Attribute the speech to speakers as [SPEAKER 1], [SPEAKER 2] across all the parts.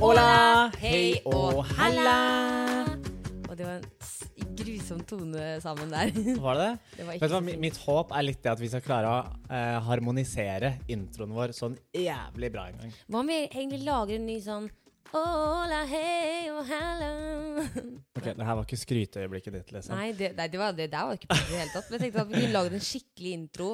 [SPEAKER 1] Hola,
[SPEAKER 2] hei og halla. Og det var en s- grusom tone sammen der.
[SPEAKER 1] Var det det?
[SPEAKER 2] Det var
[SPEAKER 1] Vet
[SPEAKER 2] ikke
[SPEAKER 1] du hva,
[SPEAKER 2] så
[SPEAKER 1] mi-
[SPEAKER 2] fint.
[SPEAKER 1] Mitt håp er litt det at vi skal klare å eh, harmonisere introen vår sånn jævlig bra en gang.
[SPEAKER 2] Hva om vi egentlig lager en ny sånn Hola, hei og halla.
[SPEAKER 1] Ok, Det her var ikke skryteøyeblikket ditt, liksom.
[SPEAKER 2] Nei, det, nei, det, var, det der var ikke på det hele tatt. Men jeg tenkte at vi kunne lage en skikkelig intro.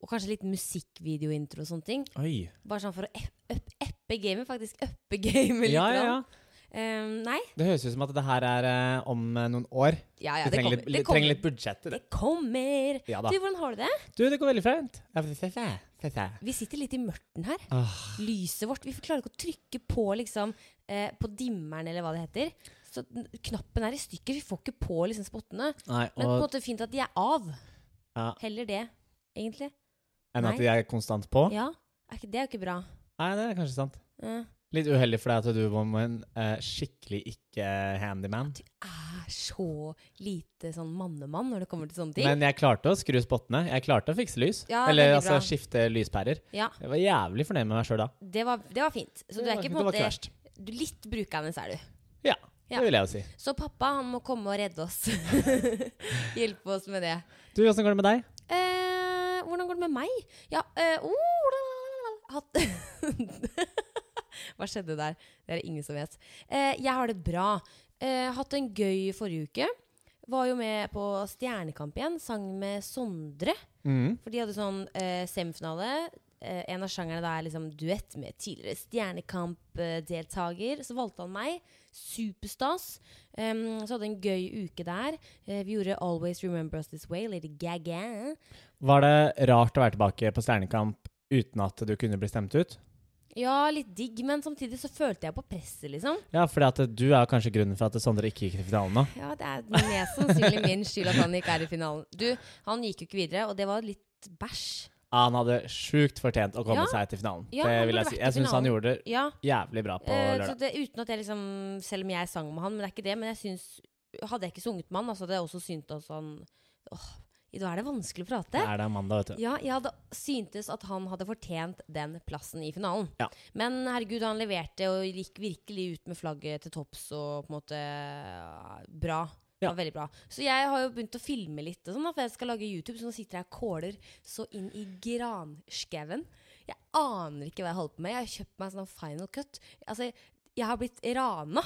[SPEAKER 2] Og kanskje litt musikkvideointro og sånne ting.
[SPEAKER 1] Oi.
[SPEAKER 2] Bare sånn for å ep- ep- eppe gamet, faktisk. Uppe gamet litt.
[SPEAKER 1] Ja, ja, ja.
[SPEAKER 2] Ehm, nei,
[SPEAKER 1] Det høres ut som at det her er eh, om eh, noen år.
[SPEAKER 2] ja, ja,
[SPEAKER 1] vi
[SPEAKER 2] det
[SPEAKER 1] trenger
[SPEAKER 2] kommer.
[SPEAKER 1] litt,
[SPEAKER 2] Det
[SPEAKER 1] litt- trenger
[SPEAKER 2] kommer.
[SPEAKER 1] litt budsjett til det.
[SPEAKER 2] Det kommer.
[SPEAKER 1] Ja da.
[SPEAKER 2] Du, hvordan har du det?
[SPEAKER 1] Du, det går veldig fint. Ja, fy, fy, fy, fy, fy.
[SPEAKER 2] Vi sitter litt i mørten her.
[SPEAKER 1] Ah,
[SPEAKER 2] lyset vårt. Vi klarer ikke å trykke på liksom, eh, på dimmeren, eller hva det heter. Så den- knappen er i stykker. Vi får ikke på liksom, spottene.
[SPEAKER 1] nei,
[SPEAKER 2] Men på en
[SPEAKER 1] og
[SPEAKER 2] måte fint at de er av.
[SPEAKER 1] Ja.
[SPEAKER 2] Heller det, egentlig.
[SPEAKER 1] enn
[SPEAKER 2] nei.
[SPEAKER 1] at de er konstant på?
[SPEAKER 2] Ja, er ikke, Det er jo ikke bra.
[SPEAKER 1] Nei, det er kanskje sant.
[SPEAKER 2] Eh,
[SPEAKER 1] Litt uheldig for deg at du var med en eh, skikkelig ikke-handyman.
[SPEAKER 2] du er så lite sånn mannemann når det kommer til sånne ting.
[SPEAKER 1] Men jeg klarte å skru spottene. Jeg klarte å fikse lys.
[SPEAKER 2] Ja,
[SPEAKER 1] Eller
[SPEAKER 2] veldig
[SPEAKER 1] altså
[SPEAKER 2] bra.
[SPEAKER 1] skifte lyspærer.
[SPEAKER 2] ja,
[SPEAKER 1] Jeg var jævlig fornøyd med meg sjøl da.
[SPEAKER 2] det var, det var fint. Så du er
[SPEAKER 1] var-
[SPEAKER 2] ikke på
[SPEAKER 1] det
[SPEAKER 2] en
[SPEAKER 1] var ikke
[SPEAKER 2] måte
[SPEAKER 1] verst.
[SPEAKER 2] du, Litt brukende er du.
[SPEAKER 1] Ja,
[SPEAKER 2] Ja.
[SPEAKER 1] det vil jeg jo si.
[SPEAKER 2] Så pappa han må komme og redde oss. Hjelpe oss med det.
[SPEAKER 1] Du, åssen går det med deg?
[SPEAKER 2] Eh, hvordan går det med meg? Ja, eh, oh, la, la, la, la. Hatt Hva skjedde der? Det er det ingen som vet. Eh, jeg har det bra. Eh, hatt en gøy forrige uke. Var jo med på Stjernekamp igjen. Sang med Sondre. For de hadde sånn eh, semifinale. Eh, en av sjangerne da er liksom duett med tidligere Stjernekamp-deltaker. Så valgte han meg. Superstas. Em, så hadde en gøy uke der. Eh, vi gjorde Always Remember Us This Way, Lady Gaga.
[SPEAKER 1] Var det rart å være tilbake på Stjernekamp uten at du kunne bli stemt ut?
[SPEAKER 2] Ja, litt digg, men samtidig så følte jeg på presset, liksom.
[SPEAKER 1] Ja, for du er kanskje grunnen for at Sondre ikke gikk til finalen nå.
[SPEAKER 2] Ja, det er mest sannsynlig min skyld at han ikke er i finalen. Du, han gikk jo ikke videre, og det var litt bæsj.
[SPEAKER 1] Ah, Han hadde sjukt fortjent å komme
[SPEAKER 2] Ja.
[SPEAKER 1] seg til finalen.
[SPEAKER 2] Ja,
[SPEAKER 1] det
[SPEAKER 2] han
[SPEAKER 1] vil
[SPEAKER 2] burde
[SPEAKER 1] jeg si.
[SPEAKER 2] vært i
[SPEAKER 1] Jeg syns han
[SPEAKER 2] finalen.
[SPEAKER 1] gjorde det
[SPEAKER 2] Ja,
[SPEAKER 1] jævlig bra på
[SPEAKER 2] eh, så
[SPEAKER 1] lørdag.
[SPEAKER 2] det, uten at jeg liksom Selv om jeg sang med han, men det er ikke det, men jeg syns Hadde jeg ikke sunget med han, altså, hadde jeg også syntes han Åh, i dag er det vanskelig å prate.
[SPEAKER 1] Det er det mandag, vet du.
[SPEAKER 2] Ja, jeg hadde syntes at han hadde fortjent den plassen i finalen.
[SPEAKER 1] Ja.
[SPEAKER 2] Men herregud, han leverte og gikk virkelig ut med flagget til topps og på en måte ja, bra. Det
[SPEAKER 1] Ja.
[SPEAKER 2] var veldig bra. Så jeg har jo begynt å filme litt, og sånn da, for jeg skal lage YouTube. Så nå sitter jeg og kåler så inn i granskauen. Jeg aner ikke hva jeg holder på med. Jeg har kjøpt meg sånn final cut. Altså, jeg har blitt rana,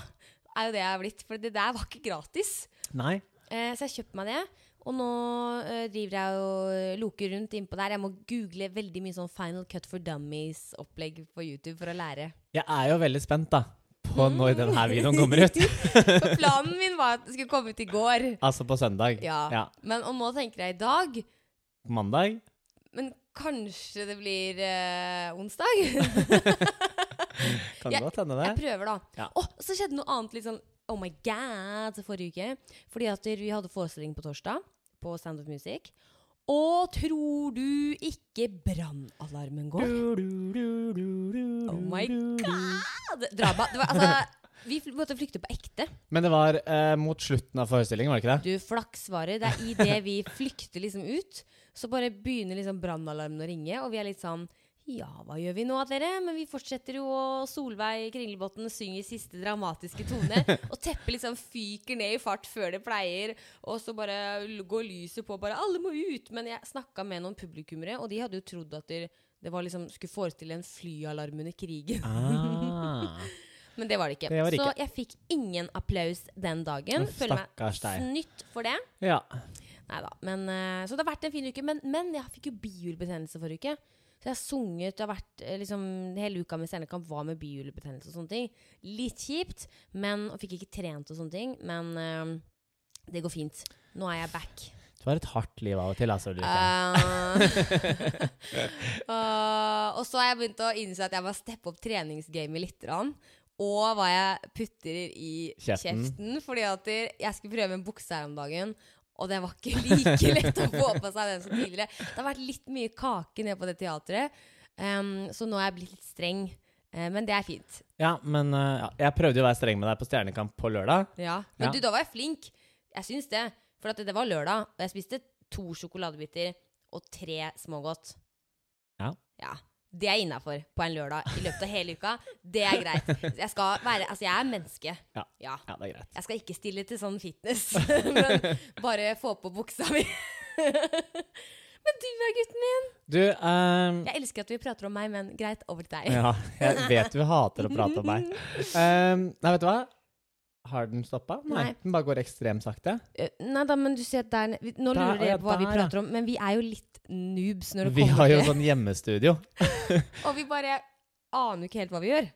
[SPEAKER 2] er jo det jeg har blitt. For det der var ikke gratis.
[SPEAKER 1] Nei.
[SPEAKER 2] Eh, så jeg kjøpte meg det. Og nå eh, driver jeg og loker rundt innpå der. Jeg må google veldig mye sånn Final Cut for Dummies-opplegg på YouTube for å lære.
[SPEAKER 1] Jeg er jo veldig spent, da. På når denne videoen kommer ut.
[SPEAKER 2] For planen min var at det skulle komme ut i går.
[SPEAKER 1] altså på søndag.
[SPEAKER 2] Ja. Men og nå tenker jeg i dag.
[SPEAKER 1] Mandag.
[SPEAKER 2] Men kanskje det blir eh, onsdag?
[SPEAKER 1] Kan
[SPEAKER 2] Jeg-
[SPEAKER 1] godt hende det.
[SPEAKER 2] Jeg prøver, da.
[SPEAKER 1] Ja.
[SPEAKER 2] Å, så skjedde noe annet litt sånn oh my god forrige uke. Fordi at vi hadde forestilling på torsdag på Sound of Music. Og tror du ikke brannalarmen går? Oh my god! Drama. Det var, altså, vi fl- måtte flykte på ekte.
[SPEAKER 1] Men det var eh, mot slutten av forestillingen, var det ikke det?
[SPEAKER 2] Du, flaks var det. Det er idet vi flykter liksom ut, så bare begynner liksom brannalarmen å ringe, og vi er litt sånn ja, hva gjør vi nå, dere? Men vi fortsetter jo, og Solveig Kringlebotn synger siste dramatiske tone. Og teppet liksom fyker ned i fart før det pleier. Og så bare l- går lyset på, bare 'alle må ut'. Men jeg snakka med noen publikummere, og de hadde jo trodd at det det var liksom, skulle forestille en flyalarm under krigen.
[SPEAKER 1] Ah.
[SPEAKER 2] Men det var det ikke.
[SPEAKER 1] Det var det
[SPEAKER 2] så
[SPEAKER 1] ikke.
[SPEAKER 2] jeg fikk ingen applaus den dagen.
[SPEAKER 1] Uff,
[SPEAKER 2] Føler meg
[SPEAKER 1] stakkars deg.
[SPEAKER 2] snytt for det.
[SPEAKER 1] Ja.
[SPEAKER 2] Neida. Men, eh, så det har vært en fin uke. Men, men jeg fikk jo bihulebetennelse forrige uke. Så jeg har sunget det har vært, eh, liksom, Hele uka med Stjernekamp var med bihulebetennelse og sånne ting. Litt kjipt, men, og fikk ikke trent og sånne ting. Men eh, det går fint. Nå er jeg back.
[SPEAKER 1] Du har et hardt liv av og til, altså. Ulrikke.
[SPEAKER 2] Eh, eh, og så har jeg begynt å innse at jeg må steppe opp treningsgamet litt. grann, Og hva jeg putter i kjeften.
[SPEAKER 1] Kjeften.
[SPEAKER 2] Fordi at jeg skulle prøve en bukse her om dagen, og det var ikke like lett å få på seg den som tidligere. Det har vært litt mye kake nede på det teatret, em, så nå er jeg blitt litt streng. Eh, men det er fint.
[SPEAKER 1] Ja, men eh, ja, jeg prøvde jo å være streng med deg på Stjernekamp på lørdag.
[SPEAKER 2] Ja. Men
[SPEAKER 1] Ja.
[SPEAKER 2] du, da var jeg flink. Jeg syns det. For at det var lørdag, og jeg spiste to sjokoladebiter og tre smågodt.
[SPEAKER 1] Ja.
[SPEAKER 2] Det er innafor på en lørdag i løpet av hele uka. Det er greit. Jeg, skal være, altså jeg er menneske.
[SPEAKER 1] Ja.
[SPEAKER 2] ja.
[SPEAKER 1] Ja, det er greit.
[SPEAKER 2] Jeg skal ikke stille til sånn fitness, men bare få på buksa mi. men du er gutten min.
[SPEAKER 1] Du, ehm,
[SPEAKER 2] Jeg elsker at vi prater om meg, men greit, over til deg.
[SPEAKER 1] ja, jeg vet du hater å prate om meg. Ehm, nei, vet du hva? Har den stoppa? Nei.
[SPEAKER 2] Nei.
[SPEAKER 1] Den bare går ekstremt sakte.
[SPEAKER 2] Eh, Nei da, men du ser der nede- vi- Nå
[SPEAKER 1] Der,
[SPEAKER 2] lurer
[SPEAKER 1] ja,
[SPEAKER 2] dere på hva vi
[SPEAKER 1] der, ja.
[SPEAKER 2] prater om, men vi er jo litt noobs når det
[SPEAKER 1] Vi har
[SPEAKER 2] kommer
[SPEAKER 1] jo
[SPEAKER 2] til
[SPEAKER 1] sånn hjemmestudio.
[SPEAKER 2] Og vi bare aner jo ikke helt hva vi gjør.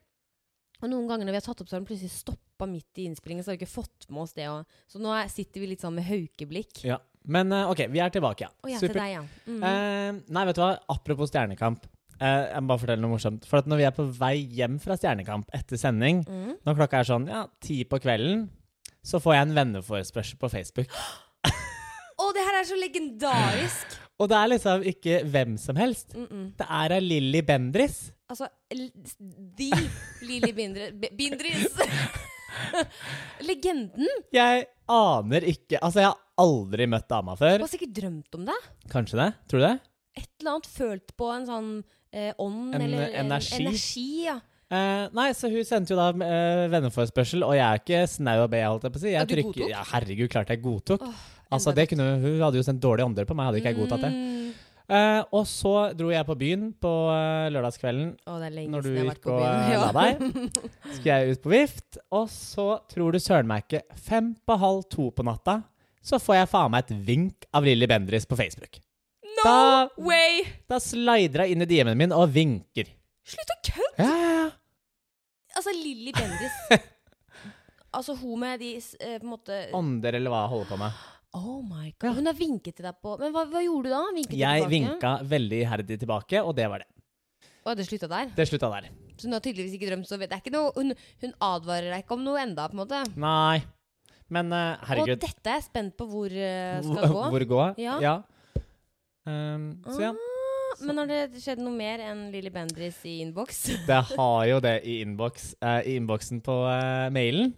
[SPEAKER 2] Og noen ganger når vi har tatt opp, så har den plutselig stoppa midt i innspillingen, så har vi ikke fått med oss det. Og, så nå er, sitter vi litt sånn med haukeblikk.
[SPEAKER 1] Ja. Men eh, OK, vi er tilbake, ja.
[SPEAKER 2] Å ja,
[SPEAKER 1] Supert.
[SPEAKER 2] til deg, ja. Mhm.
[SPEAKER 1] Eh, nei, vet du hva? Apropos Stjernekamp. eh, jeg må bare fortelle noe morsomt. For at når vi er på vei hjem fra Stjernekamp etter sending,
[SPEAKER 2] Mhm.
[SPEAKER 1] når klokka er sånn ja, ti på kvelden, så får jeg en venneforespørsel på Facebook.
[SPEAKER 2] Å, det her er så legendarisk!
[SPEAKER 1] Og det er liksom ikke hvem som helst.
[SPEAKER 2] Mhm.
[SPEAKER 1] Det er ei Lilly Bendris.
[SPEAKER 2] Altså, l- de Lilly Bindre, B- Bindris Legenden!
[SPEAKER 1] Jeg aner ikke Altså, jeg har aldri møtt dama
[SPEAKER 2] Du
[SPEAKER 1] før.
[SPEAKER 2] har sikkert drømt om det.
[SPEAKER 1] Kanskje det? Tror du det?
[SPEAKER 2] Et eller annet følt på en sånn eh, ånd
[SPEAKER 1] En,
[SPEAKER 2] eller
[SPEAKER 1] eh, energi.
[SPEAKER 2] energi ja.
[SPEAKER 1] Eh, nei, så hun sendte jo da eh, venneforespørsel, og jeg er ikke snau og be, holdt jeg på å si. Jeg
[SPEAKER 2] Ja, du
[SPEAKER 1] trykker-
[SPEAKER 2] godtok?
[SPEAKER 1] Ja, herregud, klart jeg godtok.
[SPEAKER 2] Åh,
[SPEAKER 1] altså,
[SPEAKER 2] enda
[SPEAKER 1] det kunne, hun hadde jo sendt dårlig ånder på meg, hadde ikke jeg godtatt det.
[SPEAKER 2] Mm.
[SPEAKER 1] Eh, og så dro jeg på byen på eh, lørdagskvelden
[SPEAKER 2] Å, det er lenge
[SPEAKER 1] når du
[SPEAKER 2] siden jeg har vært
[SPEAKER 1] gikk
[SPEAKER 2] på
[SPEAKER 1] og
[SPEAKER 2] byen.
[SPEAKER 1] eh, la deg. Skulle jeg ut på vift, og så tror du søren meg ikke Fem på halv to på natta, så får jeg faen meg et vink av Lilly Bendris på Facebook.
[SPEAKER 2] No
[SPEAKER 1] Da-
[SPEAKER 2] way!
[SPEAKER 1] Da slider hun inn i DM-en min og vinker.
[SPEAKER 2] Slutt å kødde!
[SPEAKER 1] Ja, ja, ja.
[SPEAKER 2] Altså, Lilly Bendis Altså, hun med de s- eh, på en måte
[SPEAKER 1] Ånder eller hva jeg holder på med.
[SPEAKER 2] Oh my god. Hun har vinket til deg på Men hva, hva gjorde du da? Vinket du
[SPEAKER 1] Jeg
[SPEAKER 2] tilbake?
[SPEAKER 1] vinka veldig iherdig tilbake, og det var det.
[SPEAKER 2] Å, det slutta der?
[SPEAKER 1] Det slutta der.
[SPEAKER 2] Så hun har tydeligvis ikke drømt, så det er ikke noe Hun, hun advarer deg ikke om noe enda, på en måte.
[SPEAKER 1] Nei. Men eh,
[SPEAKER 2] Og
[SPEAKER 1] herregud,
[SPEAKER 2] dette er jeg spent på hvor eh, skal gå.
[SPEAKER 1] hvor gå?
[SPEAKER 2] Ja.
[SPEAKER 1] Ehm, så ja.
[SPEAKER 2] Ah, Men har det skjedd noe mer enn Lilly Bendris i innboks?
[SPEAKER 1] Det har jo det i innboks. eh, I innboksen på eh, mailen.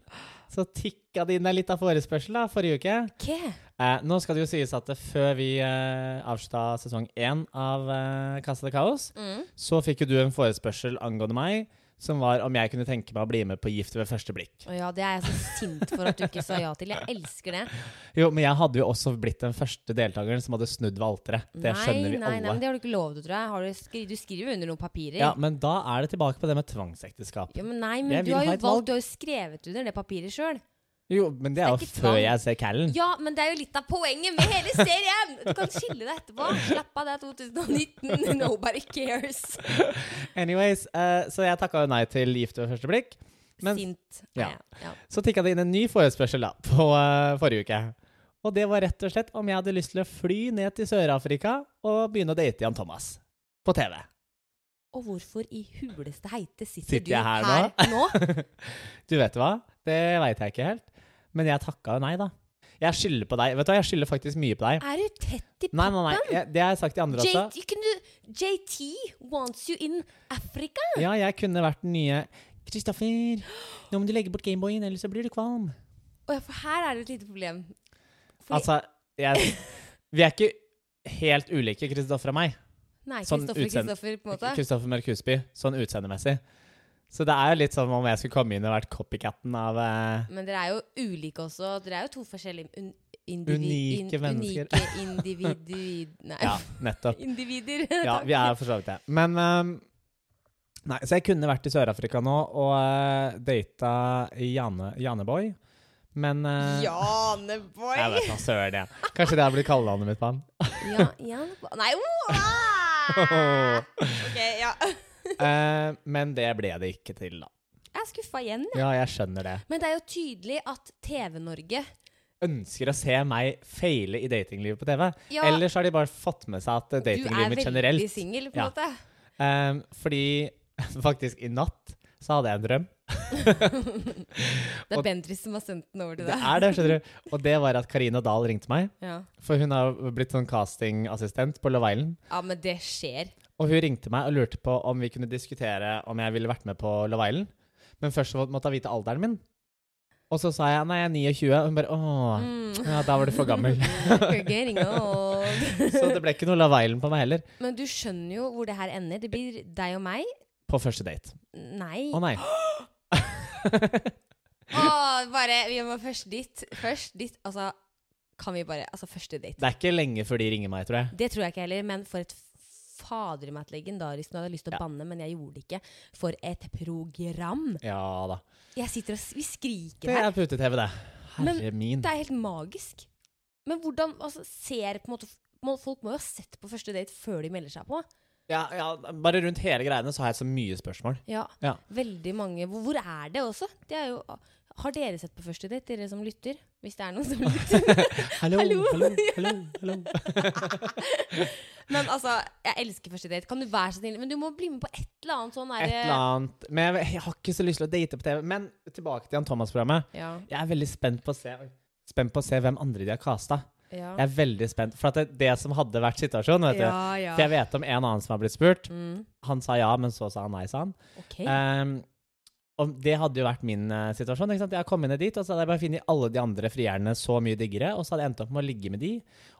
[SPEAKER 1] Så tikka det inn ei lita forespørsel da, forrige uke.
[SPEAKER 2] Hva?
[SPEAKER 1] Eh, nå skal det jo sies at det, før vi uh, avslutta sesong én av uh, Casa de Kaos,
[SPEAKER 2] Mm.
[SPEAKER 1] så fikk jo du en forespørsel angående meg som var om jeg kunne tenke meg å bli med på Gift ved første blikk.
[SPEAKER 2] Å ja, det er jeg så sint for at du ikke sa ja til. Jeg elsker det.
[SPEAKER 1] Jo, men jeg hadde jo også blitt den første deltakeren som hadde snudd ved alteret. Det skjønner vi
[SPEAKER 2] nei, Nei,
[SPEAKER 1] alle.
[SPEAKER 2] men det har du ikke lov til, tror jeg. Har du, skri du skriver under noen papirer.
[SPEAKER 1] ja, men da er det tilbake på det med tvangsekteskap.
[SPEAKER 2] Ja, men nei,
[SPEAKER 1] Jeg
[SPEAKER 2] men du
[SPEAKER 1] vil ha
[SPEAKER 2] har jo
[SPEAKER 1] et valg.
[SPEAKER 2] valgt, du har jo skrevet under det papiret sjøl.
[SPEAKER 1] Jo, men det er jo
[SPEAKER 2] Det er ikke
[SPEAKER 1] før
[SPEAKER 2] tvang.
[SPEAKER 1] jeg ser Callen.
[SPEAKER 2] Ja, men det er jo litt av poenget med hele serien! Du kan skille deg etterpå. Slapp av, det er 2019. Nobody cares.
[SPEAKER 1] Anyways, eh, så jeg takka jo nei til Gift ved første blikk. Men-
[SPEAKER 2] Sint.
[SPEAKER 1] Ja.
[SPEAKER 2] Ja. ja.
[SPEAKER 1] Så tikka det inn en ny forespørsel da, på eh, forrige uke. Og det var rett og slett om jeg hadde lyst til å fly ned til Sør-Afrika og begynne å date Jan Thomas. På TV.
[SPEAKER 2] Og hvorfor i huleste heite sitter,
[SPEAKER 1] Sitter
[SPEAKER 2] du
[SPEAKER 1] jeg her
[SPEAKER 2] her,
[SPEAKER 1] nå?
[SPEAKER 2] nå?
[SPEAKER 1] Du vet hva? Det veit jeg ikke helt. Men jeg takka jo nei, da. Jeg skylder på deg. Vet du hva, jeg skylder faktisk mye på deg.
[SPEAKER 2] Er du
[SPEAKER 1] Nei,
[SPEAKER 2] tett i pappen?
[SPEAKER 1] nei, nei. Jeg, det har jeg sagt til andre altså. også.
[SPEAKER 2] JT, kan du, JT wants you in Africa.
[SPEAKER 1] Ja, jeg kunne vært den nye Kristoffer, nå må du legge bort Gameboyen, ellers så blir du kvalm.
[SPEAKER 2] Å ja, for her er det et lite problem. Fordi,
[SPEAKER 1] Altså, jeg Vi er ikke helt ulike, Kristoffer og meg.
[SPEAKER 2] nei,
[SPEAKER 1] sånn
[SPEAKER 2] Kristoffer,
[SPEAKER 1] utseende-
[SPEAKER 2] Kristoffer, på en måte.
[SPEAKER 1] Kristoffer Mørk Husby, sånn utseendemessig. Så det er jo litt som om jeg skulle komme inn og vært copycatten av eh,
[SPEAKER 2] Men dere er jo ulike også. Dere er jo to forskjellige un
[SPEAKER 1] Unike mennesker.
[SPEAKER 2] Unike individuid... Nei.
[SPEAKER 1] Ja, nettopp.
[SPEAKER 2] Individer.
[SPEAKER 1] Ja, vi er for så vidt det. Men ehm, Nei, så jeg kunne vært i Sør-Afrika nå og eh, data Jane, Janeboy, men eh,
[SPEAKER 2] Janeboy!
[SPEAKER 1] Jeg vet da søren, jeg. Kanskje det er blitt kallenavnet mitt på han.
[SPEAKER 2] Ja, Janeboy Nei, oh! Ok, ja.
[SPEAKER 1] Eh, men det ble det ikke til, da.
[SPEAKER 2] Jeg er skuffa igjen. jeg.
[SPEAKER 1] Ja, jeg skjønner det.
[SPEAKER 2] Men det er jo tydelig at TV-Norge
[SPEAKER 1] Ønsker å se meg feile i datinglivet på TV.
[SPEAKER 2] Ja.
[SPEAKER 1] Ellers har de bare fått med seg at eh,
[SPEAKER 2] Du er
[SPEAKER 1] datinglivet mitt generelt
[SPEAKER 2] veldig singel, på en
[SPEAKER 1] Ja.
[SPEAKER 2] måte.
[SPEAKER 1] Ehm, fordi faktisk i natt så hadde jeg en drøm.
[SPEAKER 2] Det
[SPEAKER 1] Og-
[SPEAKER 2] er Bendris som har sendt den over til
[SPEAKER 1] Det
[SPEAKER 2] deg.
[SPEAKER 1] er det, skjønner du. Og det var at Karina Dahl ringte meg.
[SPEAKER 2] Ja.
[SPEAKER 1] For hun har blitt sånn castingassistent på Love Island.
[SPEAKER 2] ja, men det skjer.
[SPEAKER 1] Og hun ringte meg og lurte på om vi kunne diskutere om jeg ville vært med på Love Island. Men først så måtte hun vite alderen min. Og så sa jeg nei, jeg er 29, og hun bare åh,
[SPEAKER 2] Mm.
[SPEAKER 1] ja, da var du for gammel.
[SPEAKER 2] You're getting old.
[SPEAKER 1] Så det ble ikke noe Love Island på meg heller.
[SPEAKER 2] Men du skjønner jo hvor det her ender. Det blir deg og meg.
[SPEAKER 1] På første date.
[SPEAKER 2] Nei.
[SPEAKER 1] Å nei.
[SPEAKER 2] Åh, bare, vi må først dit. Først dit. Altså, kan vi bare Altså, første date.
[SPEAKER 1] Det er ikke lenge før de ringer meg, tror jeg.
[SPEAKER 2] Det tror jeg ikke heller, men for et fader i meg et legendarisk Nå hadde jeg lyst til å banne, men jeg gjorde det ikke. For et program!
[SPEAKER 1] Ja da.
[SPEAKER 2] Jeg sitter og s- Vi skriker
[SPEAKER 1] Det
[SPEAKER 2] her.
[SPEAKER 1] er pute-TV, det. Herre min.
[SPEAKER 2] Det er helt magisk. Men hvordan altså, ser på en måte må- Folk må jo ha sett på første date før de melder seg på.
[SPEAKER 1] Ja, ja, bare rundt hele greiene så har jeg så mye spørsmål.
[SPEAKER 2] Ja.
[SPEAKER 1] Ja.
[SPEAKER 2] Veldig mange. Hvor, hvor er det også? Det er jo, har dere sett på første date, dere som lytter? Hvis det er noen som lytter.
[SPEAKER 1] Hallo,
[SPEAKER 2] Hallo.
[SPEAKER 1] hallo, hallo. hallo.
[SPEAKER 2] Men altså, jeg elsker første date. Kan du være så snill? Men du må bli med på et eller annet sånn
[SPEAKER 1] Et eller annet. Men jeg, jeg har ikke så lyst til å date på TV. Men tilbake til Jan Thomas-programmet.
[SPEAKER 2] Ja,
[SPEAKER 1] Jeg er veldig spent på å se, spent på å se hvem andre de har casta.
[SPEAKER 2] ja.
[SPEAKER 1] Jeg er veldig spent. For at det, det som hadde vært situasjonen, vet du.
[SPEAKER 2] Ja, ja.
[SPEAKER 1] For jeg vet om en annen som har blitt spurt.
[SPEAKER 2] Mm,
[SPEAKER 1] Han sa ja, men så sa han nei, sa han.
[SPEAKER 2] ok.
[SPEAKER 1] Ehm, og det hadde jo vært min eh, situasjon. ikke sant? Jeg kom inn dit, og så hadde jeg bare funnet alle de andre frierne så mye diggere, og så hadde jeg endt opp med å ligge med de,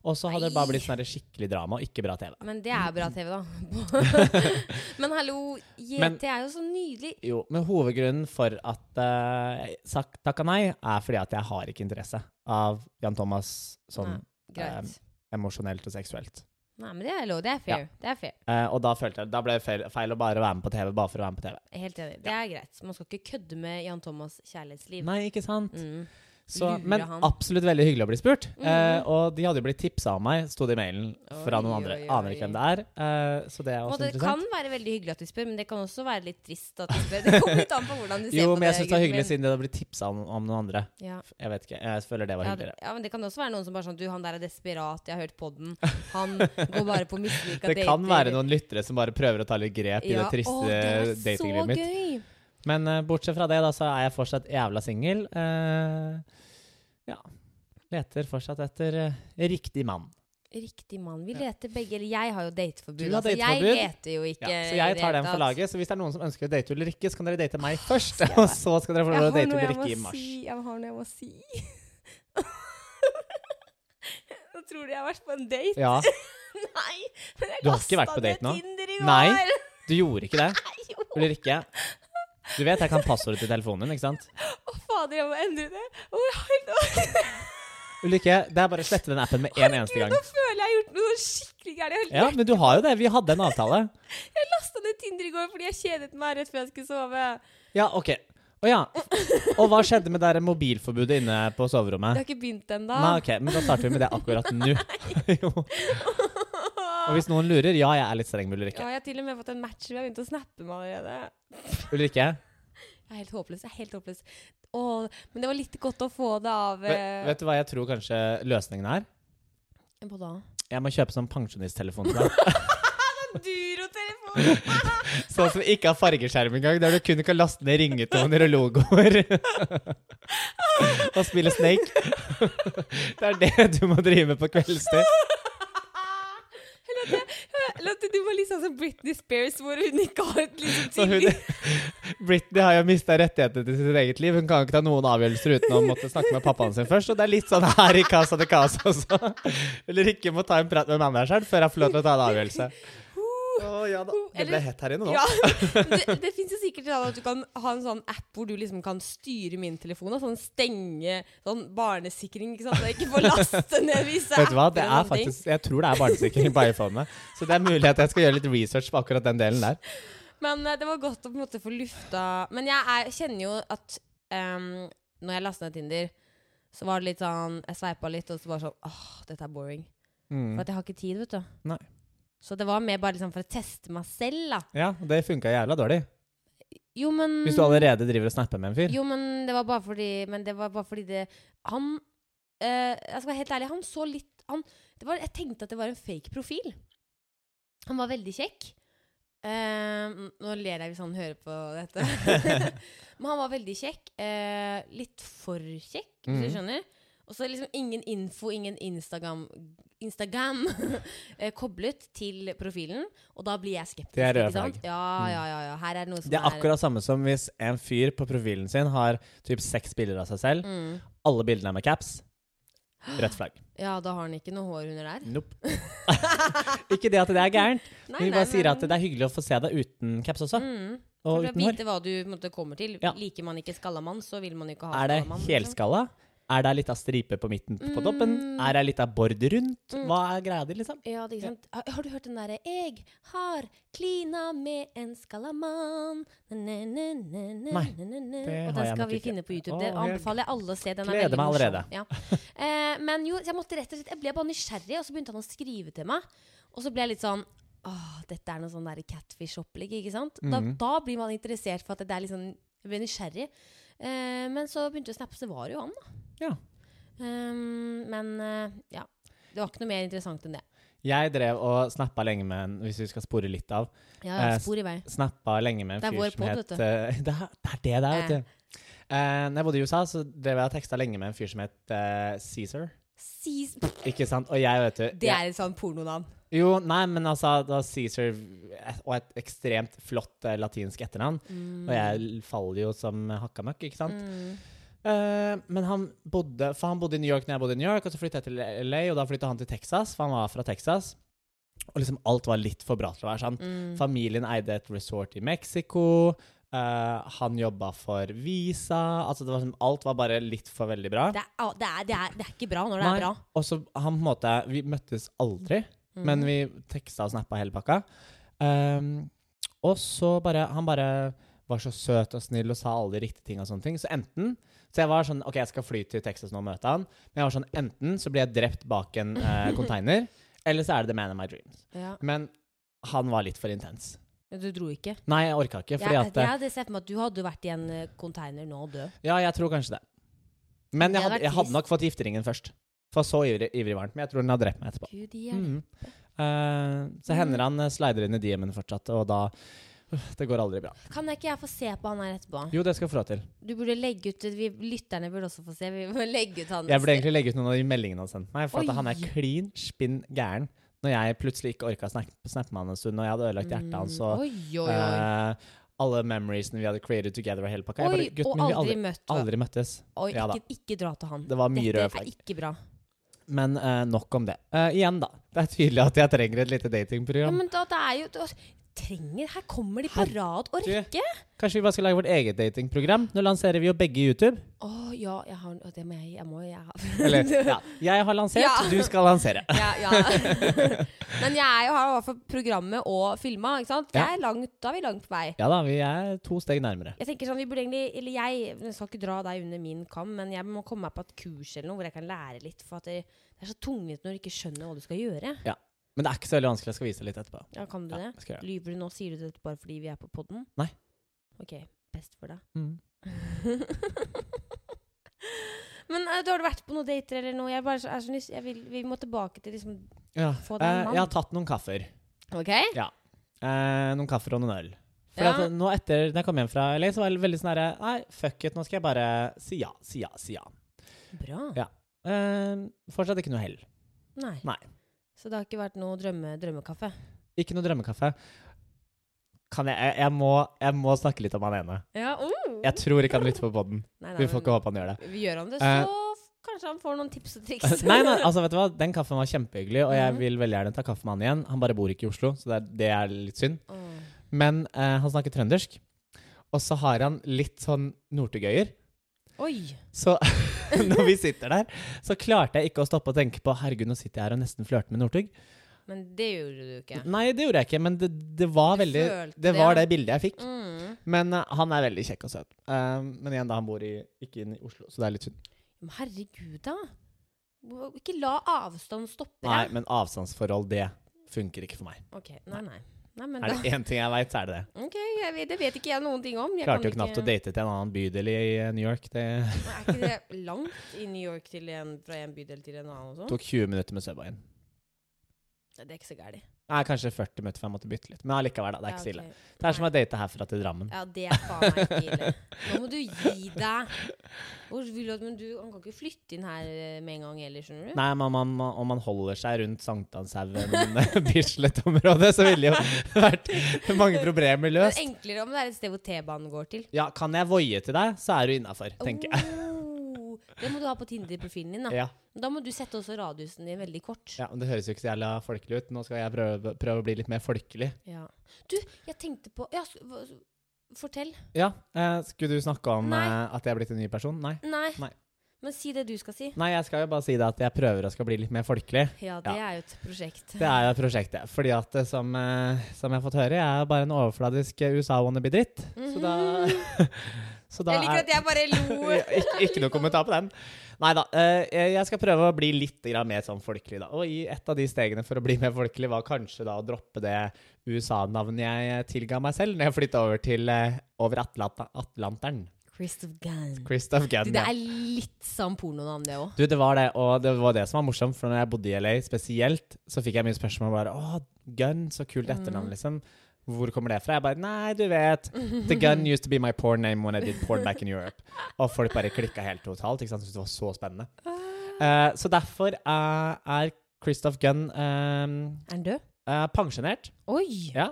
[SPEAKER 1] og så hadde det bare
[SPEAKER 2] Nei.
[SPEAKER 1] blitt sånn her skikkelig drama og ikke bra TV.
[SPEAKER 2] Men det er bra TV, da. Men hallo,
[SPEAKER 1] Men-
[SPEAKER 2] JT er jo så nydelig.
[SPEAKER 1] Jo, men hovedgrunnen for at eh, jeg sak- takka nei, er fordi at jeg har ikke interesse av Jan Thomas sånn
[SPEAKER 2] Nei. Greit.
[SPEAKER 1] Ehm, emosjonelt og seksuelt.
[SPEAKER 2] Nei, men det er lov. Det er fair. Det er fair.
[SPEAKER 1] Eh, og da følte jeg da ble det feil, feil å bare være med på TV bare for å være med på TV.
[SPEAKER 2] Jeg er Helt enig. Det er greit. Man skal ikke kødde med Jan Thomas' kjærlighetsliv.
[SPEAKER 1] Nei, ikke sant?
[SPEAKER 2] Mm.
[SPEAKER 1] Så,
[SPEAKER 2] Lure
[SPEAKER 1] men
[SPEAKER 2] han.
[SPEAKER 1] absolutt veldig hyggelig å bli spurt.
[SPEAKER 2] Mm.
[SPEAKER 1] Eh, og de hadde jo blitt tipsa av meg, sto det i mailen, fra
[SPEAKER 2] Oi,
[SPEAKER 1] noen andre.
[SPEAKER 2] oi,
[SPEAKER 1] Aner ikke hvem det er. Eh, så det er
[SPEAKER 2] Og
[SPEAKER 1] også
[SPEAKER 2] det kan
[SPEAKER 1] interessant.
[SPEAKER 2] være veldig hyggelig at du spør, men det kan også være litt trist at du spør. Det kommer litt an på hvordan du ser
[SPEAKER 1] Jo,
[SPEAKER 2] på
[SPEAKER 1] men jeg
[SPEAKER 2] det.
[SPEAKER 1] syns det var
[SPEAKER 2] gutten
[SPEAKER 1] hyggelig
[SPEAKER 2] min.
[SPEAKER 1] siden de hadde blitt tipsa om, om noen andre.
[SPEAKER 2] Ja.
[SPEAKER 1] Jeg vet ikke, jeg føler det var
[SPEAKER 2] Ja,
[SPEAKER 1] hyggeligere.
[SPEAKER 2] ja, men det kan også være noen som bare sånn Du, han der er desperat, jeg har hørt podden. Han går bare på mislykka
[SPEAKER 1] Det kan være noen lyttere som bare prøver å ta litt grep i det
[SPEAKER 2] Åh, det
[SPEAKER 1] triste
[SPEAKER 2] var så
[SPEAKER 1] datinglivet mitt.
[SPEAKER 2] gøy!
[SPEAKER 1] Men eh, bortsett fra det, da, så er jeg fortsatt jævla singel. Eh, ja. Leter fortsatt etter eh, riktig mann.
[SPEAKER 2] Riktig mann. Vi leter begge Eller jeg har jo dateforbud.
[SPEAKER 1] Du har
[SPEAKER 2] altså,
[SPEAKER 1] dateforbud.
[SPEAKER 2] Jeg leter jo
[SPEAKER 1] Ja,
[SPEAKER 2] ikke.
[SPEAKER 1] så
[SPEAKER 2] i
[SPEAKER 1] jeg
[SPEAKER 2] det
[SPEAKER 1] tar den
[SPEAKER 2] hele
[SPEAKER 1] for
[SPEAKER 2] tatt.
[SPEAKER 1] laget. Så hvis det er noen som ønsker å date Ulrikke, så kan dere date meg først. Og så skal dere få lov
[SPEAKER 2] Jeg
[SPEAKER 1] til
[SPEAKER 2] har
[SPEAKER 1] å date
[SPEAKER 2] noe jeg må
[SPEAKER 1] Ulrikke i mars.
[SPEAKER 2] Si, jeg har noe jeg må si. Nå tror du jeg har vært på en date.
[SPEAKER 1] Ja,
[SPEAKER 2] Nei! Men jeg
[SPEAKER 1] Du har ikke vært
[SPEAKER 2] kastet
[SPEAKER 1] på date
[SPEAKER 2] ned
[SPEAKER 1] nå?
[SPEAKER 2] Tinder i går.
[SPEAKER 1] Nei. du gjorde ikke det.
[SPEAKER 2] Nei, jo.
[SPEAKER 1] Ulrikke. Du vet jeg kan passordet til telefonen din, ikke sant?
[SPEAKER 2] Å, fader, jeg må endre det. Å, jeg har helt
[SPEAKER 1] Ulrikke, det er bare å slette den appen med en eneste gang.
[SPEAKER 2] Nå føler jeg jeg har gjort noe skikkelig gærent. Jeg
[SPEAKER 1] Ja, men du har jo det. Vi hadde en avtale.
[SPEAKER 2] har lasta ned Tinder i går fordi jeg kjedet meg rett før jeg skulle sove.
[SPEAKER 1] Ja, OK. Å ja. Og hva skjedde med det der mobilforbudet inne på soverommet?
[SPEAKER 2] Det har ikke begynt ennå.
[SPEAKER 1] Nei, ok, men da starter vi med det akkurat nå. jo. Og hvis noen lurer, ja, jeg er litt streng med
[SPEAKER 2] Ja,
[SPEAKER 1] Ulrikke.
[SPEAKER 2] jeg har til og med fått en match hvor jeg begynte å snappe meg allerede.
[SPEAKER 1] Ulrikke,
[SPEAKER 2] Jeg er helt håpløs. Jeg er helt håpløs. Å, men det var litt godt å få det av eh,
[SPEAKER 1] vet, vet du hva jeg tror kanskje løsningen er?
[SPEAKER 2] Hva da?
[SPEAKER 1] Jeg må kjøpe sånn pensjonisttelefon til deg.
[SPEAKER 2] Durotelefon!
[SPEAKER 1] Sånn som ikke har fargeskjerm engang, der du kun kan laste ned ringetoner og logoer. og spille Snake. det er det du må drive med på kveldstid.
[SPEAKER 2] Eller Ah! at, jeg- eller at du må liksom som Britney Spears, hvor hun ikke har et liksom
[SPEAKER 1] Så hun,
[SPEAKER 2] tillit.
[SPEAKER 1] Britney har jo mista rettighetene til sitt eget liv. Hun kan jo ikke ta noen avgjørelser uten å måtte snakke med pappaen sin først. Og det er litt sånn her i Casa de Casa også. Eller ikke må ta en prat med manageren før jeg får lov til å ta en avgjørelse. Å, ja da. Det
[SPEAKER 2] Eller-
[SPEAKER 1] ble hett her inne nå.
[SPEAKER 2] Ja, det, det fins jo sikkert sånn at du kan ha en sånn app hvor du liksom kan styre min telefon. Og sånn stenge sånn barnesikring, ikke sant. Så jeg ikke får laste ned visse
[SPEAKER 1] Vet du hva?
[SPEAKER 2] apper
[SPEAKER 1] Det
[SPEAKER 2] og
[SPEAKER 1] er
[SPEAKER 2] sånne ting.
[SPEAKER 1] faktisk, jeg tror det er barnesikring på iPhonene. Så det er mulig at jeg skal gjøre litt research på akkurat den delen der.
[SPEAKER 2] Men eh, det var godt å på en måte få lufta Men jeg er, kjenner jo at ehm, når jeg lastet ned Tinder, så var det litt sånn Jeg sveipa litt, og så bare sånn Åh, dette er boring. For
[SPEAKER 1] Mm.
[SPEAKER 2] at jeg har ikke tid, vet du.
[SPEAKER 1] Nei.
[SPEAKER 2] Så det var mer bare liksom for å teste meg selv, da.
[SPEAKER 1] Ja, det funka jævla dårlig.
[SPEAKER 2] Jo, men
[SPEAKER 1] Hvis du allerede driver og snapper med en fyr.
[SPEAKER 2] Jo, men det var bare fordi Men det var bare fordi det Han eh, Jeg skal være helt ærlig, han så litt han, det var, Jeg tenkte at det var en fake profil. Han var veldig kjekk. Eh, nå ler jeg hvis han hører på dette. men han var veldig kjekk. eh, litt for kjekk, hvis du
[SPEAKER 1] Mhm.
[SPEAKER 2] skjønner. Og så liksom ingen info, ingen Instagram, Instagram eh, koblet til profilen. Og da blir jeg skeptisk.
[SPEAKER 1] Det er røde
[SPEAKER 2] ikke
[SPEAKER 1] flagg.
[SPEAKER 2] sant?
[SPEAKER 1] Mhm.
[SPEAKER 2] Ja, ja, ja, ja. Her er det noe som
[SPEAKER 1] Det er akkurat samme som hvis en fyr på profilen sin har typ seks bilder av seg selv.
[SPEAKER 2] mm.
[SPEAKER 1] Alle bildene er med caps. Rødt flagg.
[SPEAKER 2] Ja, da har han ikke noe hår under der.
[SPEAKER 1] Nope. ikke det at det er gærent,
[SPEAKER 2] Nei,
[SPEAKER 1] men vi
[SPEAKER 2] nei,
[SPEAKER 1] bare sier
[SPEAKER 2] nei.
[SPEAKER 1] at det er hyggelig å få se deg uten caps også.
[SPEAKER 2] mm. For
[SPEAKER 1] Og
[SPEAKER 2] å
[SPEAKER 1] uten hår.
[SPEAKER 2] vite hva du på en måte, kommer til.
[SPEAKER 1] Ja.
[SPEAKER 2] Liker man ikke skallamann, så vil man ikke ha
[SPEAKER 1] Er det
[SPEAKER 2] skallamann. liksom.
[SPEAKER 1] helskalla? Er det ei lita stripe på midten på
[SPEAKER 2] Mm.
[SPEAKER 1] toppen? Er det ei lita bord rundt? Hva er greia di, liksom?
[SPEAKER 2] Ja, det er ikke sant. Har, har du hørt den derre 'Jeg har klina med en skalamann' Nei,
[SPEAKER 1] Nei, det
[SPEAKER 2] Og
[SPEAKER 1] har
[SPEAKER 2] den
[SPEAKER 1] jeg
[SPEAKER 2] skal
[SPEAKER 1] nok
[SPEAKER 2] vi
[SPEAKER 1] ikke.
[SPEAKER 2] finne på YouTube.
[SPEAKER 1] Å,
[SPEAKER 2] det
[SPEAKER 1] jeg
[SPEAKER 2] anbefaler jeg alle å se. Den er
[SPEAKER 1] gleder
[SPEAKER 2] veldig
[SPEAKER 1] meg allerede.
[SPEAKER 2] morsom. Ja. Eh, men jo, så jeg måtte rett og slett Jeg ble bare nysgjerrig, og så begynte han å skrive til meg. Og så ble jeg litt sånn Åh, dette er noe sånn der catfish-opplegg, ikke sant? Da,
[SPEAKER 1] Mhm.
[SPEAKER 2] da blir man interessert for at det er litt sånn Jeg ble nysgjerrig. Eh, men så begynte jeg å snappe, så det var jo han, da.
[SPEAKER 1] Ja.
[SPEAKER 2] Ehm, men eh, ja. Det var ikke noe mer interessant enn det.
[SPEAKER 1] Jeg drev og snappa lenge med en, hvis vi skal spore litt av,
[SPEAKER 2] Ja, ja,
[SPEAKER 1] Eh,
[SPEAKER 2] spor i vei.
[SPEAKER 1] snappa lenge med
[SPEAKER 2] Det
[SPEAKER 1] en
[SPEAKER 2] er
[SPEAKER 1] fyr
[SPEAKER 2] vår
[SPEAKER 1] som
[SPEAKER 2] podd,
[SPEAKER 1] het
[SPEAKER 2] vet du.
[SPEAKER 1] eh, det, er, det er det det er, vet du. Uh, når jeg bodde i USA, så drev jeg og teksta lenge med en fyr som het eh, Caesar.
[SPEAKER 2] Sis
[SPEAKER 1] Ikke sant? Og jeg, vet du
[SPEAKER 2] Det
[SPEAKER 1] jeg,
[SPEAKER 2] er et sånt pornonavn.
[SPEAKER 1] Jo, nei, men altså da Caesar Og et ekstremt flott eh, latinsk etternavn.
[SPEAKER 2] Mm.
[SPEAKER 1] Og jeg l- faller jo som hakka møkk, ikke sant? Eh, men han bodde For han bodde i New York når jeg bodde i New York, og så flytta jeg til LA, og da flytta han til Texas, for han var fra Texas. Og liksom alt var litt for bra til å være sant.
[SPEAKER 2] Mm.
[SPEAKER 1] Familien eide et resort i Mexico. eh, han jobba for Visa. Altså det var som, alt var bare litt for veldig bra.
[SPEAKER 2] Det er, ah, det, er, det, er, det er ikke bra når det
[SPEAKER 1] Nei,
[SPEAKER 2] er bra.
[SPEAKER 1] Og så han på en måte Vi møttes aldri,
[SPEAKER 2] Mm.
[SPEAKER 1] men vi teksta og snappa hele pakka. Ehm, og så bare Han bare var så søt og snill og sa alle de riktige tinga og sånne ting. Så enten Så jeg var sånn OK, jeg skal fly til Texas nå og møte han. Men jeg var sånn Enten så blir jeg drept bak en eh, container, eller så er det the man of my dreams.
[SPEAKER 2] Ja.
[SPEAKER 1] Men han var litt for intens.
[SPEAKER 2] Du dro ikke.
[SPEAKER 1] Nei, jeg orka ikke, fordi
[SPEAKER 2] jeg,
[SPEAKER 1] at
[SPEAKER 2] jeg hadde sett for meg at du hadde vært i en eh, container nå og død.
[SPEAKER 1] Ja, jeg tror kanskje det. Men
[SPEAKER 2] Det
[SPEAKER 1] jeg
[SPEAKER 2] hadde
[SPEAKER 1] hadde,
[SPEAKER 2] vært
[SPEAKER 1] jeg hadde nok fått gifteringen først. For så ivrig, ivrig var han. Men jeg tror hun har drept meg etterpå.
[SPEAKER 2] Gud i hjelp.
[SPEAKER 1] Mm. Eh, så hender han eh, slider inn i DM-en fortsatt, og da Uff, Det går aldri bra.
[SPEAKER 2] Kan jeg ikke jeg få se på han her etterpå?
[SPEAKER 1] Jo, det skal jeg få lov til.
[SPEAKER 2] Du burde legge ut vi, Lytterne burde også få se. Vi må legge ut han.
[SPEAKER 1] Jeg burde egentlig legge ut noen av de meldingene han sendte meg, for
[SPEAKER 2] Oi.
[SPEAKER 1] at han er klin spinn gæren. Når jeg plutselig ikke orka å snakke, snakke med han en stund, og jeg hadde ødelagt hjertet hans og
[SPEAKER 2] Mm. Oi, oi, oi.
[SPEAKER 1] eh, alle memoriesene vi hadde created together og hele pakka. Jeg
[SPEAKER 2] Oi,
[SPEAKER 1] bare,
[SPEAKER 2] og
[SPEAKER 1] gutten min, vi
[SPEAKER 2] aldri
[SPEAKER 1] aldri,
[SPEAKER 2] møtt.
[SPEAKER 1] aldri møttes.
[SPEAKER 2] Oi,
[SPEAKER 1] Ja da.
[SPEAKER 2] ikke, ikke dra til han.
[SPEAKER 1] Det var mye røde
[SPEAKER 2] Dette
[SPEAKER 1] flagg.
[SPEAKER 2] er ikke bra.
[SPEAKER 1] Men eh, nok om det. Eh, igjen, da. Det er tydelig at jeg trenger et lite
[SPEAKER 2] Ja,
[SPEAKER 1] datingprogram.
[SPEAKER 2] men da, det er jo da, Trenger Her kommer de på
[SPEAKER 1] Herre-
[SPEAKER 2] rad og
[SPEAKER 1] Du-
[SPEAKER 2] rekke.
[SPEAKER 1] Kanskje vi bare skal lage vårt eget datingprogram? Nå lanserer vi jo begge YouTube.
[SPEAKER 2] Å ja, jeg har å, Det må jeg Jeg må jeg har.
[SPEAKER 1] Eller, ja. Jeg har lansert,
[SPEAKER 2] Ja.
[SPEAKER 1] du skal lansere.
[SPEAKER 2] ja, ja. Men jeg er jo her i hvert fall programmet og filma, ikke sant? Det
[SPEAKER 1] Ja.
[SPEAKER 2] er langt, da er vi langt på vei.
[SPEAKER 1] Ja da, vi er to steg nærmere.
[SPEAKER 2] Jeg tenker sånn, vi burde egentlig, eller jeg, jeg skal ikke dra deg under min kam, men jeg må komme meg på et kurs eller noe hvor jeg kan lære litt. For at det, det er så tungvint når du ikke skjønner hva du skal gjøre.
[SPEAKER 1] Men det er ikke så veldig vanskelig. Jeg skal vise litt etterpå.
[SPEAKER 2] Ja, Kan du
[SPEAKER 1] Ja,
[SPEAKER 2] det?
[SPEAKER 1] jeg skal gjøre det.
[SPEAKER 2] Lyver du nå? Sier du dette bare fordi vi er på poden?
[SPEAKER 1] Nei.
[SPEAKER 2] Ok, best for deg.
[SPEAKER 1] Mm.
[SPEAKER 2] men eh, du har du vært på noen dater eller noe? Jeg bare så- er så nys- jeg vil, vi må tilbake til liksom
[SPEAKER 1] Ja.
[SPEAKER 2] Få deg en
[SPEAKER 1] Eh,
[SPEAKER 2] mann.
[SPEAKER 1] jeg har tatt noen kaffer.
[SPEAKER 2] OK?
[SPEAKER 1] Eh, noen kaffer og noen øl. For
[SPEAKER 2] Ja.
[SPEAKER 1] at, eh, nå etter da jeg kom hjem fra LA, så var jeg veldig sånn herre Nei, fuck it, nå skal jeg bare si ja, si ja, si ja.
[SPEAKER 2] Bra.
[SPEAKER 1] Eh, fortsatt ikke noe hell.
[SPEAKER 2] Nei.
[SPEAKER 1] Nei.
[SPEAKER 2] Så det har ikke vært noe drømme, drømmekaffe?
[SPEAKER 1] Ikke noe drømmekaffe. Kan jeg, jeg, jeg, må, jeg må snakke litt om han ene.
[SPEAKER 2] Ja, oh.
[SPEAKER 1] Jeg tror ikke han lytter på poden.
[SPEAKER 2] Nei, nei,
[SPEAKER 1] Vi får
[SPEAKER 2] men
[SPEAKER 1] ikke håpe han gjør det.
[SPEAKER 2] vi gjør han det,
[SPEAKER 1] Eh.
[SPEAKER 2] så f- kanskje han får noen tips og triks.
[SPEAKER 1] nei, nei, altså vet du hva? Den kaffen var kjempehyggelig, og jeg
[SPEAKER 2] Mhm.
[SPEAKER 1] vil veldig gjerne ta kaffe med han igjen. Han bare bor ikke i Oslo, så det er, det er litt synd.
[SPEAKER 2] Åh.
[SPEAKER 1] Men eh, han snakker trøndersk, og så har han litt sånn nortegøyer.
[SPEAKER 2] Oi!
[SPEAKER 1] Så når vi sitter der, så klarte jeg ikke å stoppe å tenke på herregud, nå sitter jeg her og nesten flørter med Northug.
[SPEAKER 2] Men det gjorde du ikke.
[SPEAKER 1] Nei, det gjorde jeg ikke, men det, det var
[SPEAKER 2] Du
[SPEAKER 1] veldig
[SPEAKER 2] følte
[SPEAKER 1] Det var det
[SPEAKER 2] det.
[SPEAKER 1] bildet jeg fikk.
[SPEAKER 2] Mm.
[SPEAKER 1] Men eh, han er veldig kjekk og søt. Eh, men igjen, da, han bor i, ikke inne i Oslo, så det er litt synd.
[SPEAKER 2] Men herregud, da. Hvor- Ikke la avstand stoppe
[SPEAKER 1] Nei,
[SPEAKER 2] deg.
[SPEAKER 1] men avstandsforhold, det funker ikke for meg.
[SPEAKER 2] Ok, nei, nei. nei men
[SPEAKER 1] Er
[SPEAKER 2] da.
[SPEAKER 1] det én ting jeg veit, så er det det.
[SPEAKER 2] Ok, jeg vet, Det vet ikke jeg noen ting om. Jeg
[SPEAKER 1] Klarte
[SPEAKER 2] kan
[SPEAKER 1] jo knapt å
[SPEAKER 2] ikke-
[SPEAKER 1] date til en annen bydel i eh, New York. Det
[SPEAKER 2] Men Er ikke det langt i New York til en, fra en bydel til en annen? og sånn?
[SPEAKER 1] tok 20 minutter med Subwayen.
[SPEAKER 2] Nei, Det er ikke så gærent.
[SPEAKER 1] Nei, kanskje 40 minutter, for jeg måtte bytte litt. Men allikevel, da. Det er ikke så ille.
[SPEAKER 2] Ja, ok.
[SPEAKER 1] Det er som å date herfra til Drammen.
[SPEAKER 2] Ja, det er faen meg ikke ille. Nå må du gi deg. Hvor vil du, at- men du, han kan ikke flytte inn her eh, med en gang heller, skjønner du?
[SPEAKER 1] Nei, men om man, om man holder seg rundt Sankthanshaugen-Bislett-området, så ville jo vært mange problemer
[SPEAKER 2] Det
[SPEAKER 1] løst.
[SPEAKER 2] er enklere om det er et sted hvor T-banen går til.
[SPEAKER 1] Ja, kan jeg voie til deg, så er du innafor, tenker jeg.
[SPEAKER 2] Oh, det må du ha på Tinder-profilen din. Da.
[SPEAKER 1] Ja,
[SPEAKER 2] da må du sette også radiusen din veldig kort.
[SPEAKER 1] ja, men Det høres jo ikke så jævla folkelig ut. Nå skal jeg prøve, prøve å bli litt mer folkelig.
[SPEAKER 2] Ja. Du, jeg tenkte på ja, s- hva- Fortell.
[SPEAKER 1] Ja, eh, Skulle du snakke om
[SPEAKER 2] Nei.
[SPEAKER 1] eh, at jeg er blitt en ny person? Nei.
[SPEAKER 2] Nei.
[SPEAKER 1] Nei.
[SPEAKER 2] Men si det du skal si.
[SPEAKER 1] Nei, jeg skal jo bare si det at jeg prøver å skal bli litt mer folkelig.
[SPEAKER 2] Ja, det er jo et prosjekt.
[SPEAKER 1] Det er jo prosjektet. Fordi at eh, som, eh, som jeg har fått høre, jeg er bare en overfladisk eh, USA-wannabe-dritt. Så da, så da
[SPEAKER 2] Mhm. jeg liker
[SPEAKER 1] er-
[SPEAKER 2] at jeg bare lo.
[SPEAKER 1] Ja, ikke, ikke noe kommentar på den. Nei da. eh, Jeg skal prøve å bli litt grann mer sånn folkelig, da. Og i et av de stegene for å bli mer folkelig var kanskje da å droppe det USA-navnet jeg tilga meg selv når jeg flytta over til eh, Over Atlanta, Atlanteren.
[SPEAKER 2] Christoph Gunn.
[SPEAKER 1] Christoph
[SPEAKER 2] Du,
[SPEAKER 1] Gunn.
[SPEAKER 2] det
[SPEAKER 1] ja.
[SPEAKER 2] er litt sånn pornonavn, det òg.
[SPEAKER 1] Du, det var det, og det var det som var morsomt, for når jeg bodde i LA spesielt, så fikk jeg mye spørsmål bare Å, Gunn, så kult
[SPEAKER 2] Mm.
[SPEAKER 1] etternavn, liksom. Hvor kommer det fra? Jeg bare Nei, du vet. The Gun used to be my porn name when I did porn back in Europe. Og folk bare klikka helt totalt. ikke sant? Syntes det var så spennende.
[SPEAKER 2] Ah.
[SPEAKER 1] Eh, så derfor eh, er Christoph Gunn eh,
[SPEAKER 2] Er han død?
[SPEAKER 1] eh, pensjonert,
[SPEAKER 2] Oi!
[SPEAKER 1] ja.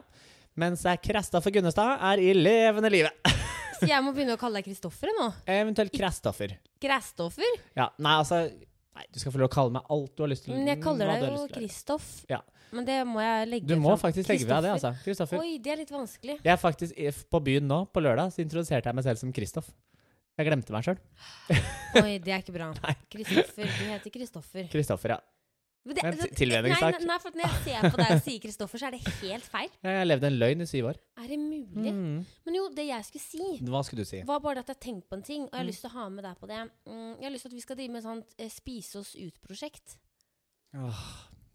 [SPEAKER 1] mens eh, Kristoffer Gunnestad er i levende live.
[SPEAKER 2] Så jeg må begynne å kalle deg Kristoffer nå?
[SPEAKER 1] Eventuelt Kristoffer.
[SPEAKER 2] Gresstoffer?
[SPEAKER 1] Ja, nei, altså Nei, du skal få lov å kalle meg alt du har lyst til.
[SPEAKER 2] Men jeg kaller
[SPEAKER 1] hva du
[SPEAKER 2] deg
[SPEAKER 1] har
[SPEAKER 2] jo
[SPEAKER 1] lyst til.
[SPEAKER 2] Kristoff.
[SPEAKER 1] Ja.
[SPEAKER 2] Men det må jeg legge
[SPEAKER 1] Du må
[SPEAKER 2] fram.
[SPEAKER 1] faktisk legge fra deg,
[SPEAKER 2] Kristoffer.
[SPEAKER 1] altså. Kristoffer.
[SPEAKER 2] Oi, det er litt vanskelig.
[SPEAKER 1] Jeg er faktisk i- på byen nå, på lørdag, så introduserte jeg meg selv som Kristoff. Jeg glemte meg sjøl.
[SPEAKER 2] Oi, det er ikke bra. Kristoffer. Du heter Kristoffer.
[SPEAKER 1] Kristoffer, ja.
[SPEAKER 2] Men det- altså,
[SPEAKER 1] En til-
[SPEAKER 2] nei,
[SPEAKER 1] tilvenningssak.
[SPEAKER 2] nei, nei, for når jeg ser på deg og sier Kristoffer, så er det helt feil.
[SPEAKER 1] Jeg levde en løgn i syv år.
[SPEAKER 2] Er det mulig?
[SPEAKER 1] Mm.
[SPEAKER 2] Men jo, det jeg skulle si,
[SPEAKER 1] Hva skulle du si?
[SPEAKER 2] var bare at jeg tenkte på en ting, og
[SPEAKER 1] Mm.
[SPEAKER 2] jeg har lyst til å ha med deg på det. Mm, Jeg har lyst til at vi skal drive med et sånt eh, spise oss ut-prosjekt.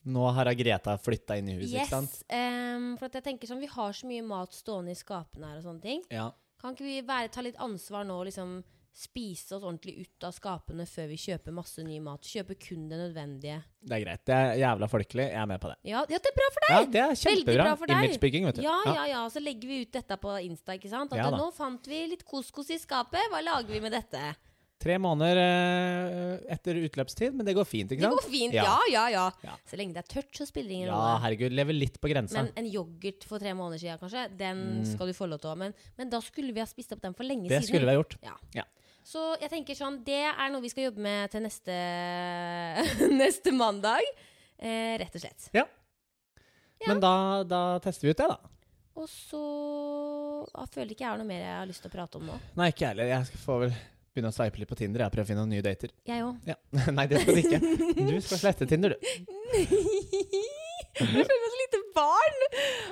[SPEAKER 1] Nå har Greta flytta inn i huset, ikke
[SPEAKER 2] Yes.
[SPEAKER 1] sant?
[SPEAKER 2] ehm, for at jeg tenker sånn, vi har så mye mat stående i skapene her og sånne ting.
[SPEAKER 1] Ja.
[SPEAKER 2] Kan ikke vi være, ta litt ansvar nå og liksom spise oss ordentlig ut av skapene før vi kjøper masse ny mat? Kjøpe kun det nødvendige.
[SPEAKER 1] Det er greit. Det er jævla folkelig. Jeg er med på det.
[SPEAKER 2] Ja, ja det er bra for deg!
[SPEAKER 1] Ja, det er
[SPEAKER 2] Veldig
[SPEAKER 1] kjempebra.
[SPEAKER 2] bra for deg.
[SPEAKER 1] Imagebygging, vet du.
[SPEAKER 2] Ja, ja, ja. Så legger vi ut dette på Insta. ikke sant? At
[SPEAKER 1] Ja da.
[SPEAKER 2] nå fant vi litt couscous i skapet. Hva lager vi med dette?
[SPEAKER 1] Tre måneder eh, etter utløpstid, men det går fint, ikke
[SPEAKER 2] Det
[SPEAKER 1] sant?
[SPEAKER 2] går fint. Ja,
[SPEAKER 1] Ja.
[SPEAKER 2] ja, ja.
[SPEAKER 1] Ja.
[SPEAKER 2] Så lenge det er tørt, så spiller det ingen
[SPEAKER 1] Ja,
[SPEAKER 2] rolle.
[SPEAKER 1] herregud. Lever litt på grensa.
[SPEAKER 2] Men en yoghurt for tre måneder siden, kanskje, den skal du få lov til å ha. Men, men da skulle vi ha spist opp den for lenge
[SPEAKER 1] Mm. Det
[SPEAKER 2] siden.
[SPEAKER 1] skulle vi ha gjort.
[SPEAKER 2] Ja.
[SPEAKER 1] Ja.
[SPEAKER 2] Så jeg tenker sånn, det er noe vi skal jobbe med til neste, neste mandag. Eh, rett og slett.
[SPEAKER 1] Men da, da tester vi ut det, da.
[SPEAKER 2] Og så jeg føler ikke jeg har noe mer jeg har lyst til å prate om nå.
[SPEAKER 1] Nei, ikke jeg heller. Jeg skal- får vel begynne å sveipe litt på Tinder. Jeg prøver å finne noen nye dater.
[SPEAKER 2] Jeg òg.
[SPEAKER 1] Ja. Nei, det skal du ikke. Du skal slette Tinder, du.
[SPEAKER 2] jeg føler meg så lite barn!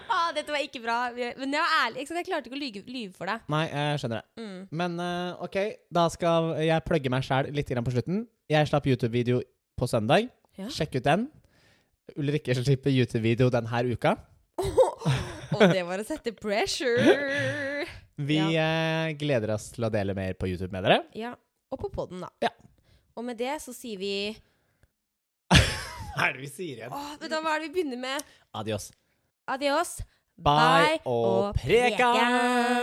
[SPEAKER 2] Ah, dette var ikke bra. Men jeg var ærlig. Ikke sant? Jeg klarte ikke å lyge, lyve for deg.
[SPEAKER 1] Nei, jeg skjønner det.
[SPEAKER 2] Mm.
[SPEAKER 1] Men eh, ok, da skal jeg plugge meg sjæl litt grann på slutten. Jeg slapp YouTube-video på søndag.
[SPEAKER 2] Ja.
[SPEAKER 1] Sjekk ut den. Ulrikke slipper YouTube-video denne uka.
[SPEAKER 2] Og det var å sette pressure.
[SPEAKER 1] Vi eh, gleder oss til å dele mer på YouTube med dere.
[SPEAKER 2] Ja. Og på poden, da.
[SPEAKER 1] Ja.
[SPEAKER 2] Og med det så sier vi
[SPEAKER 1] Hva er det vi sier igjen?
[SPEAKER 2] Åh, vet du hva, hva er det vi begynner med?
[SPEAKER 1] Adios.
[SPEAKER 2] Adios.
[SPEAKER 1] Bye og prekan!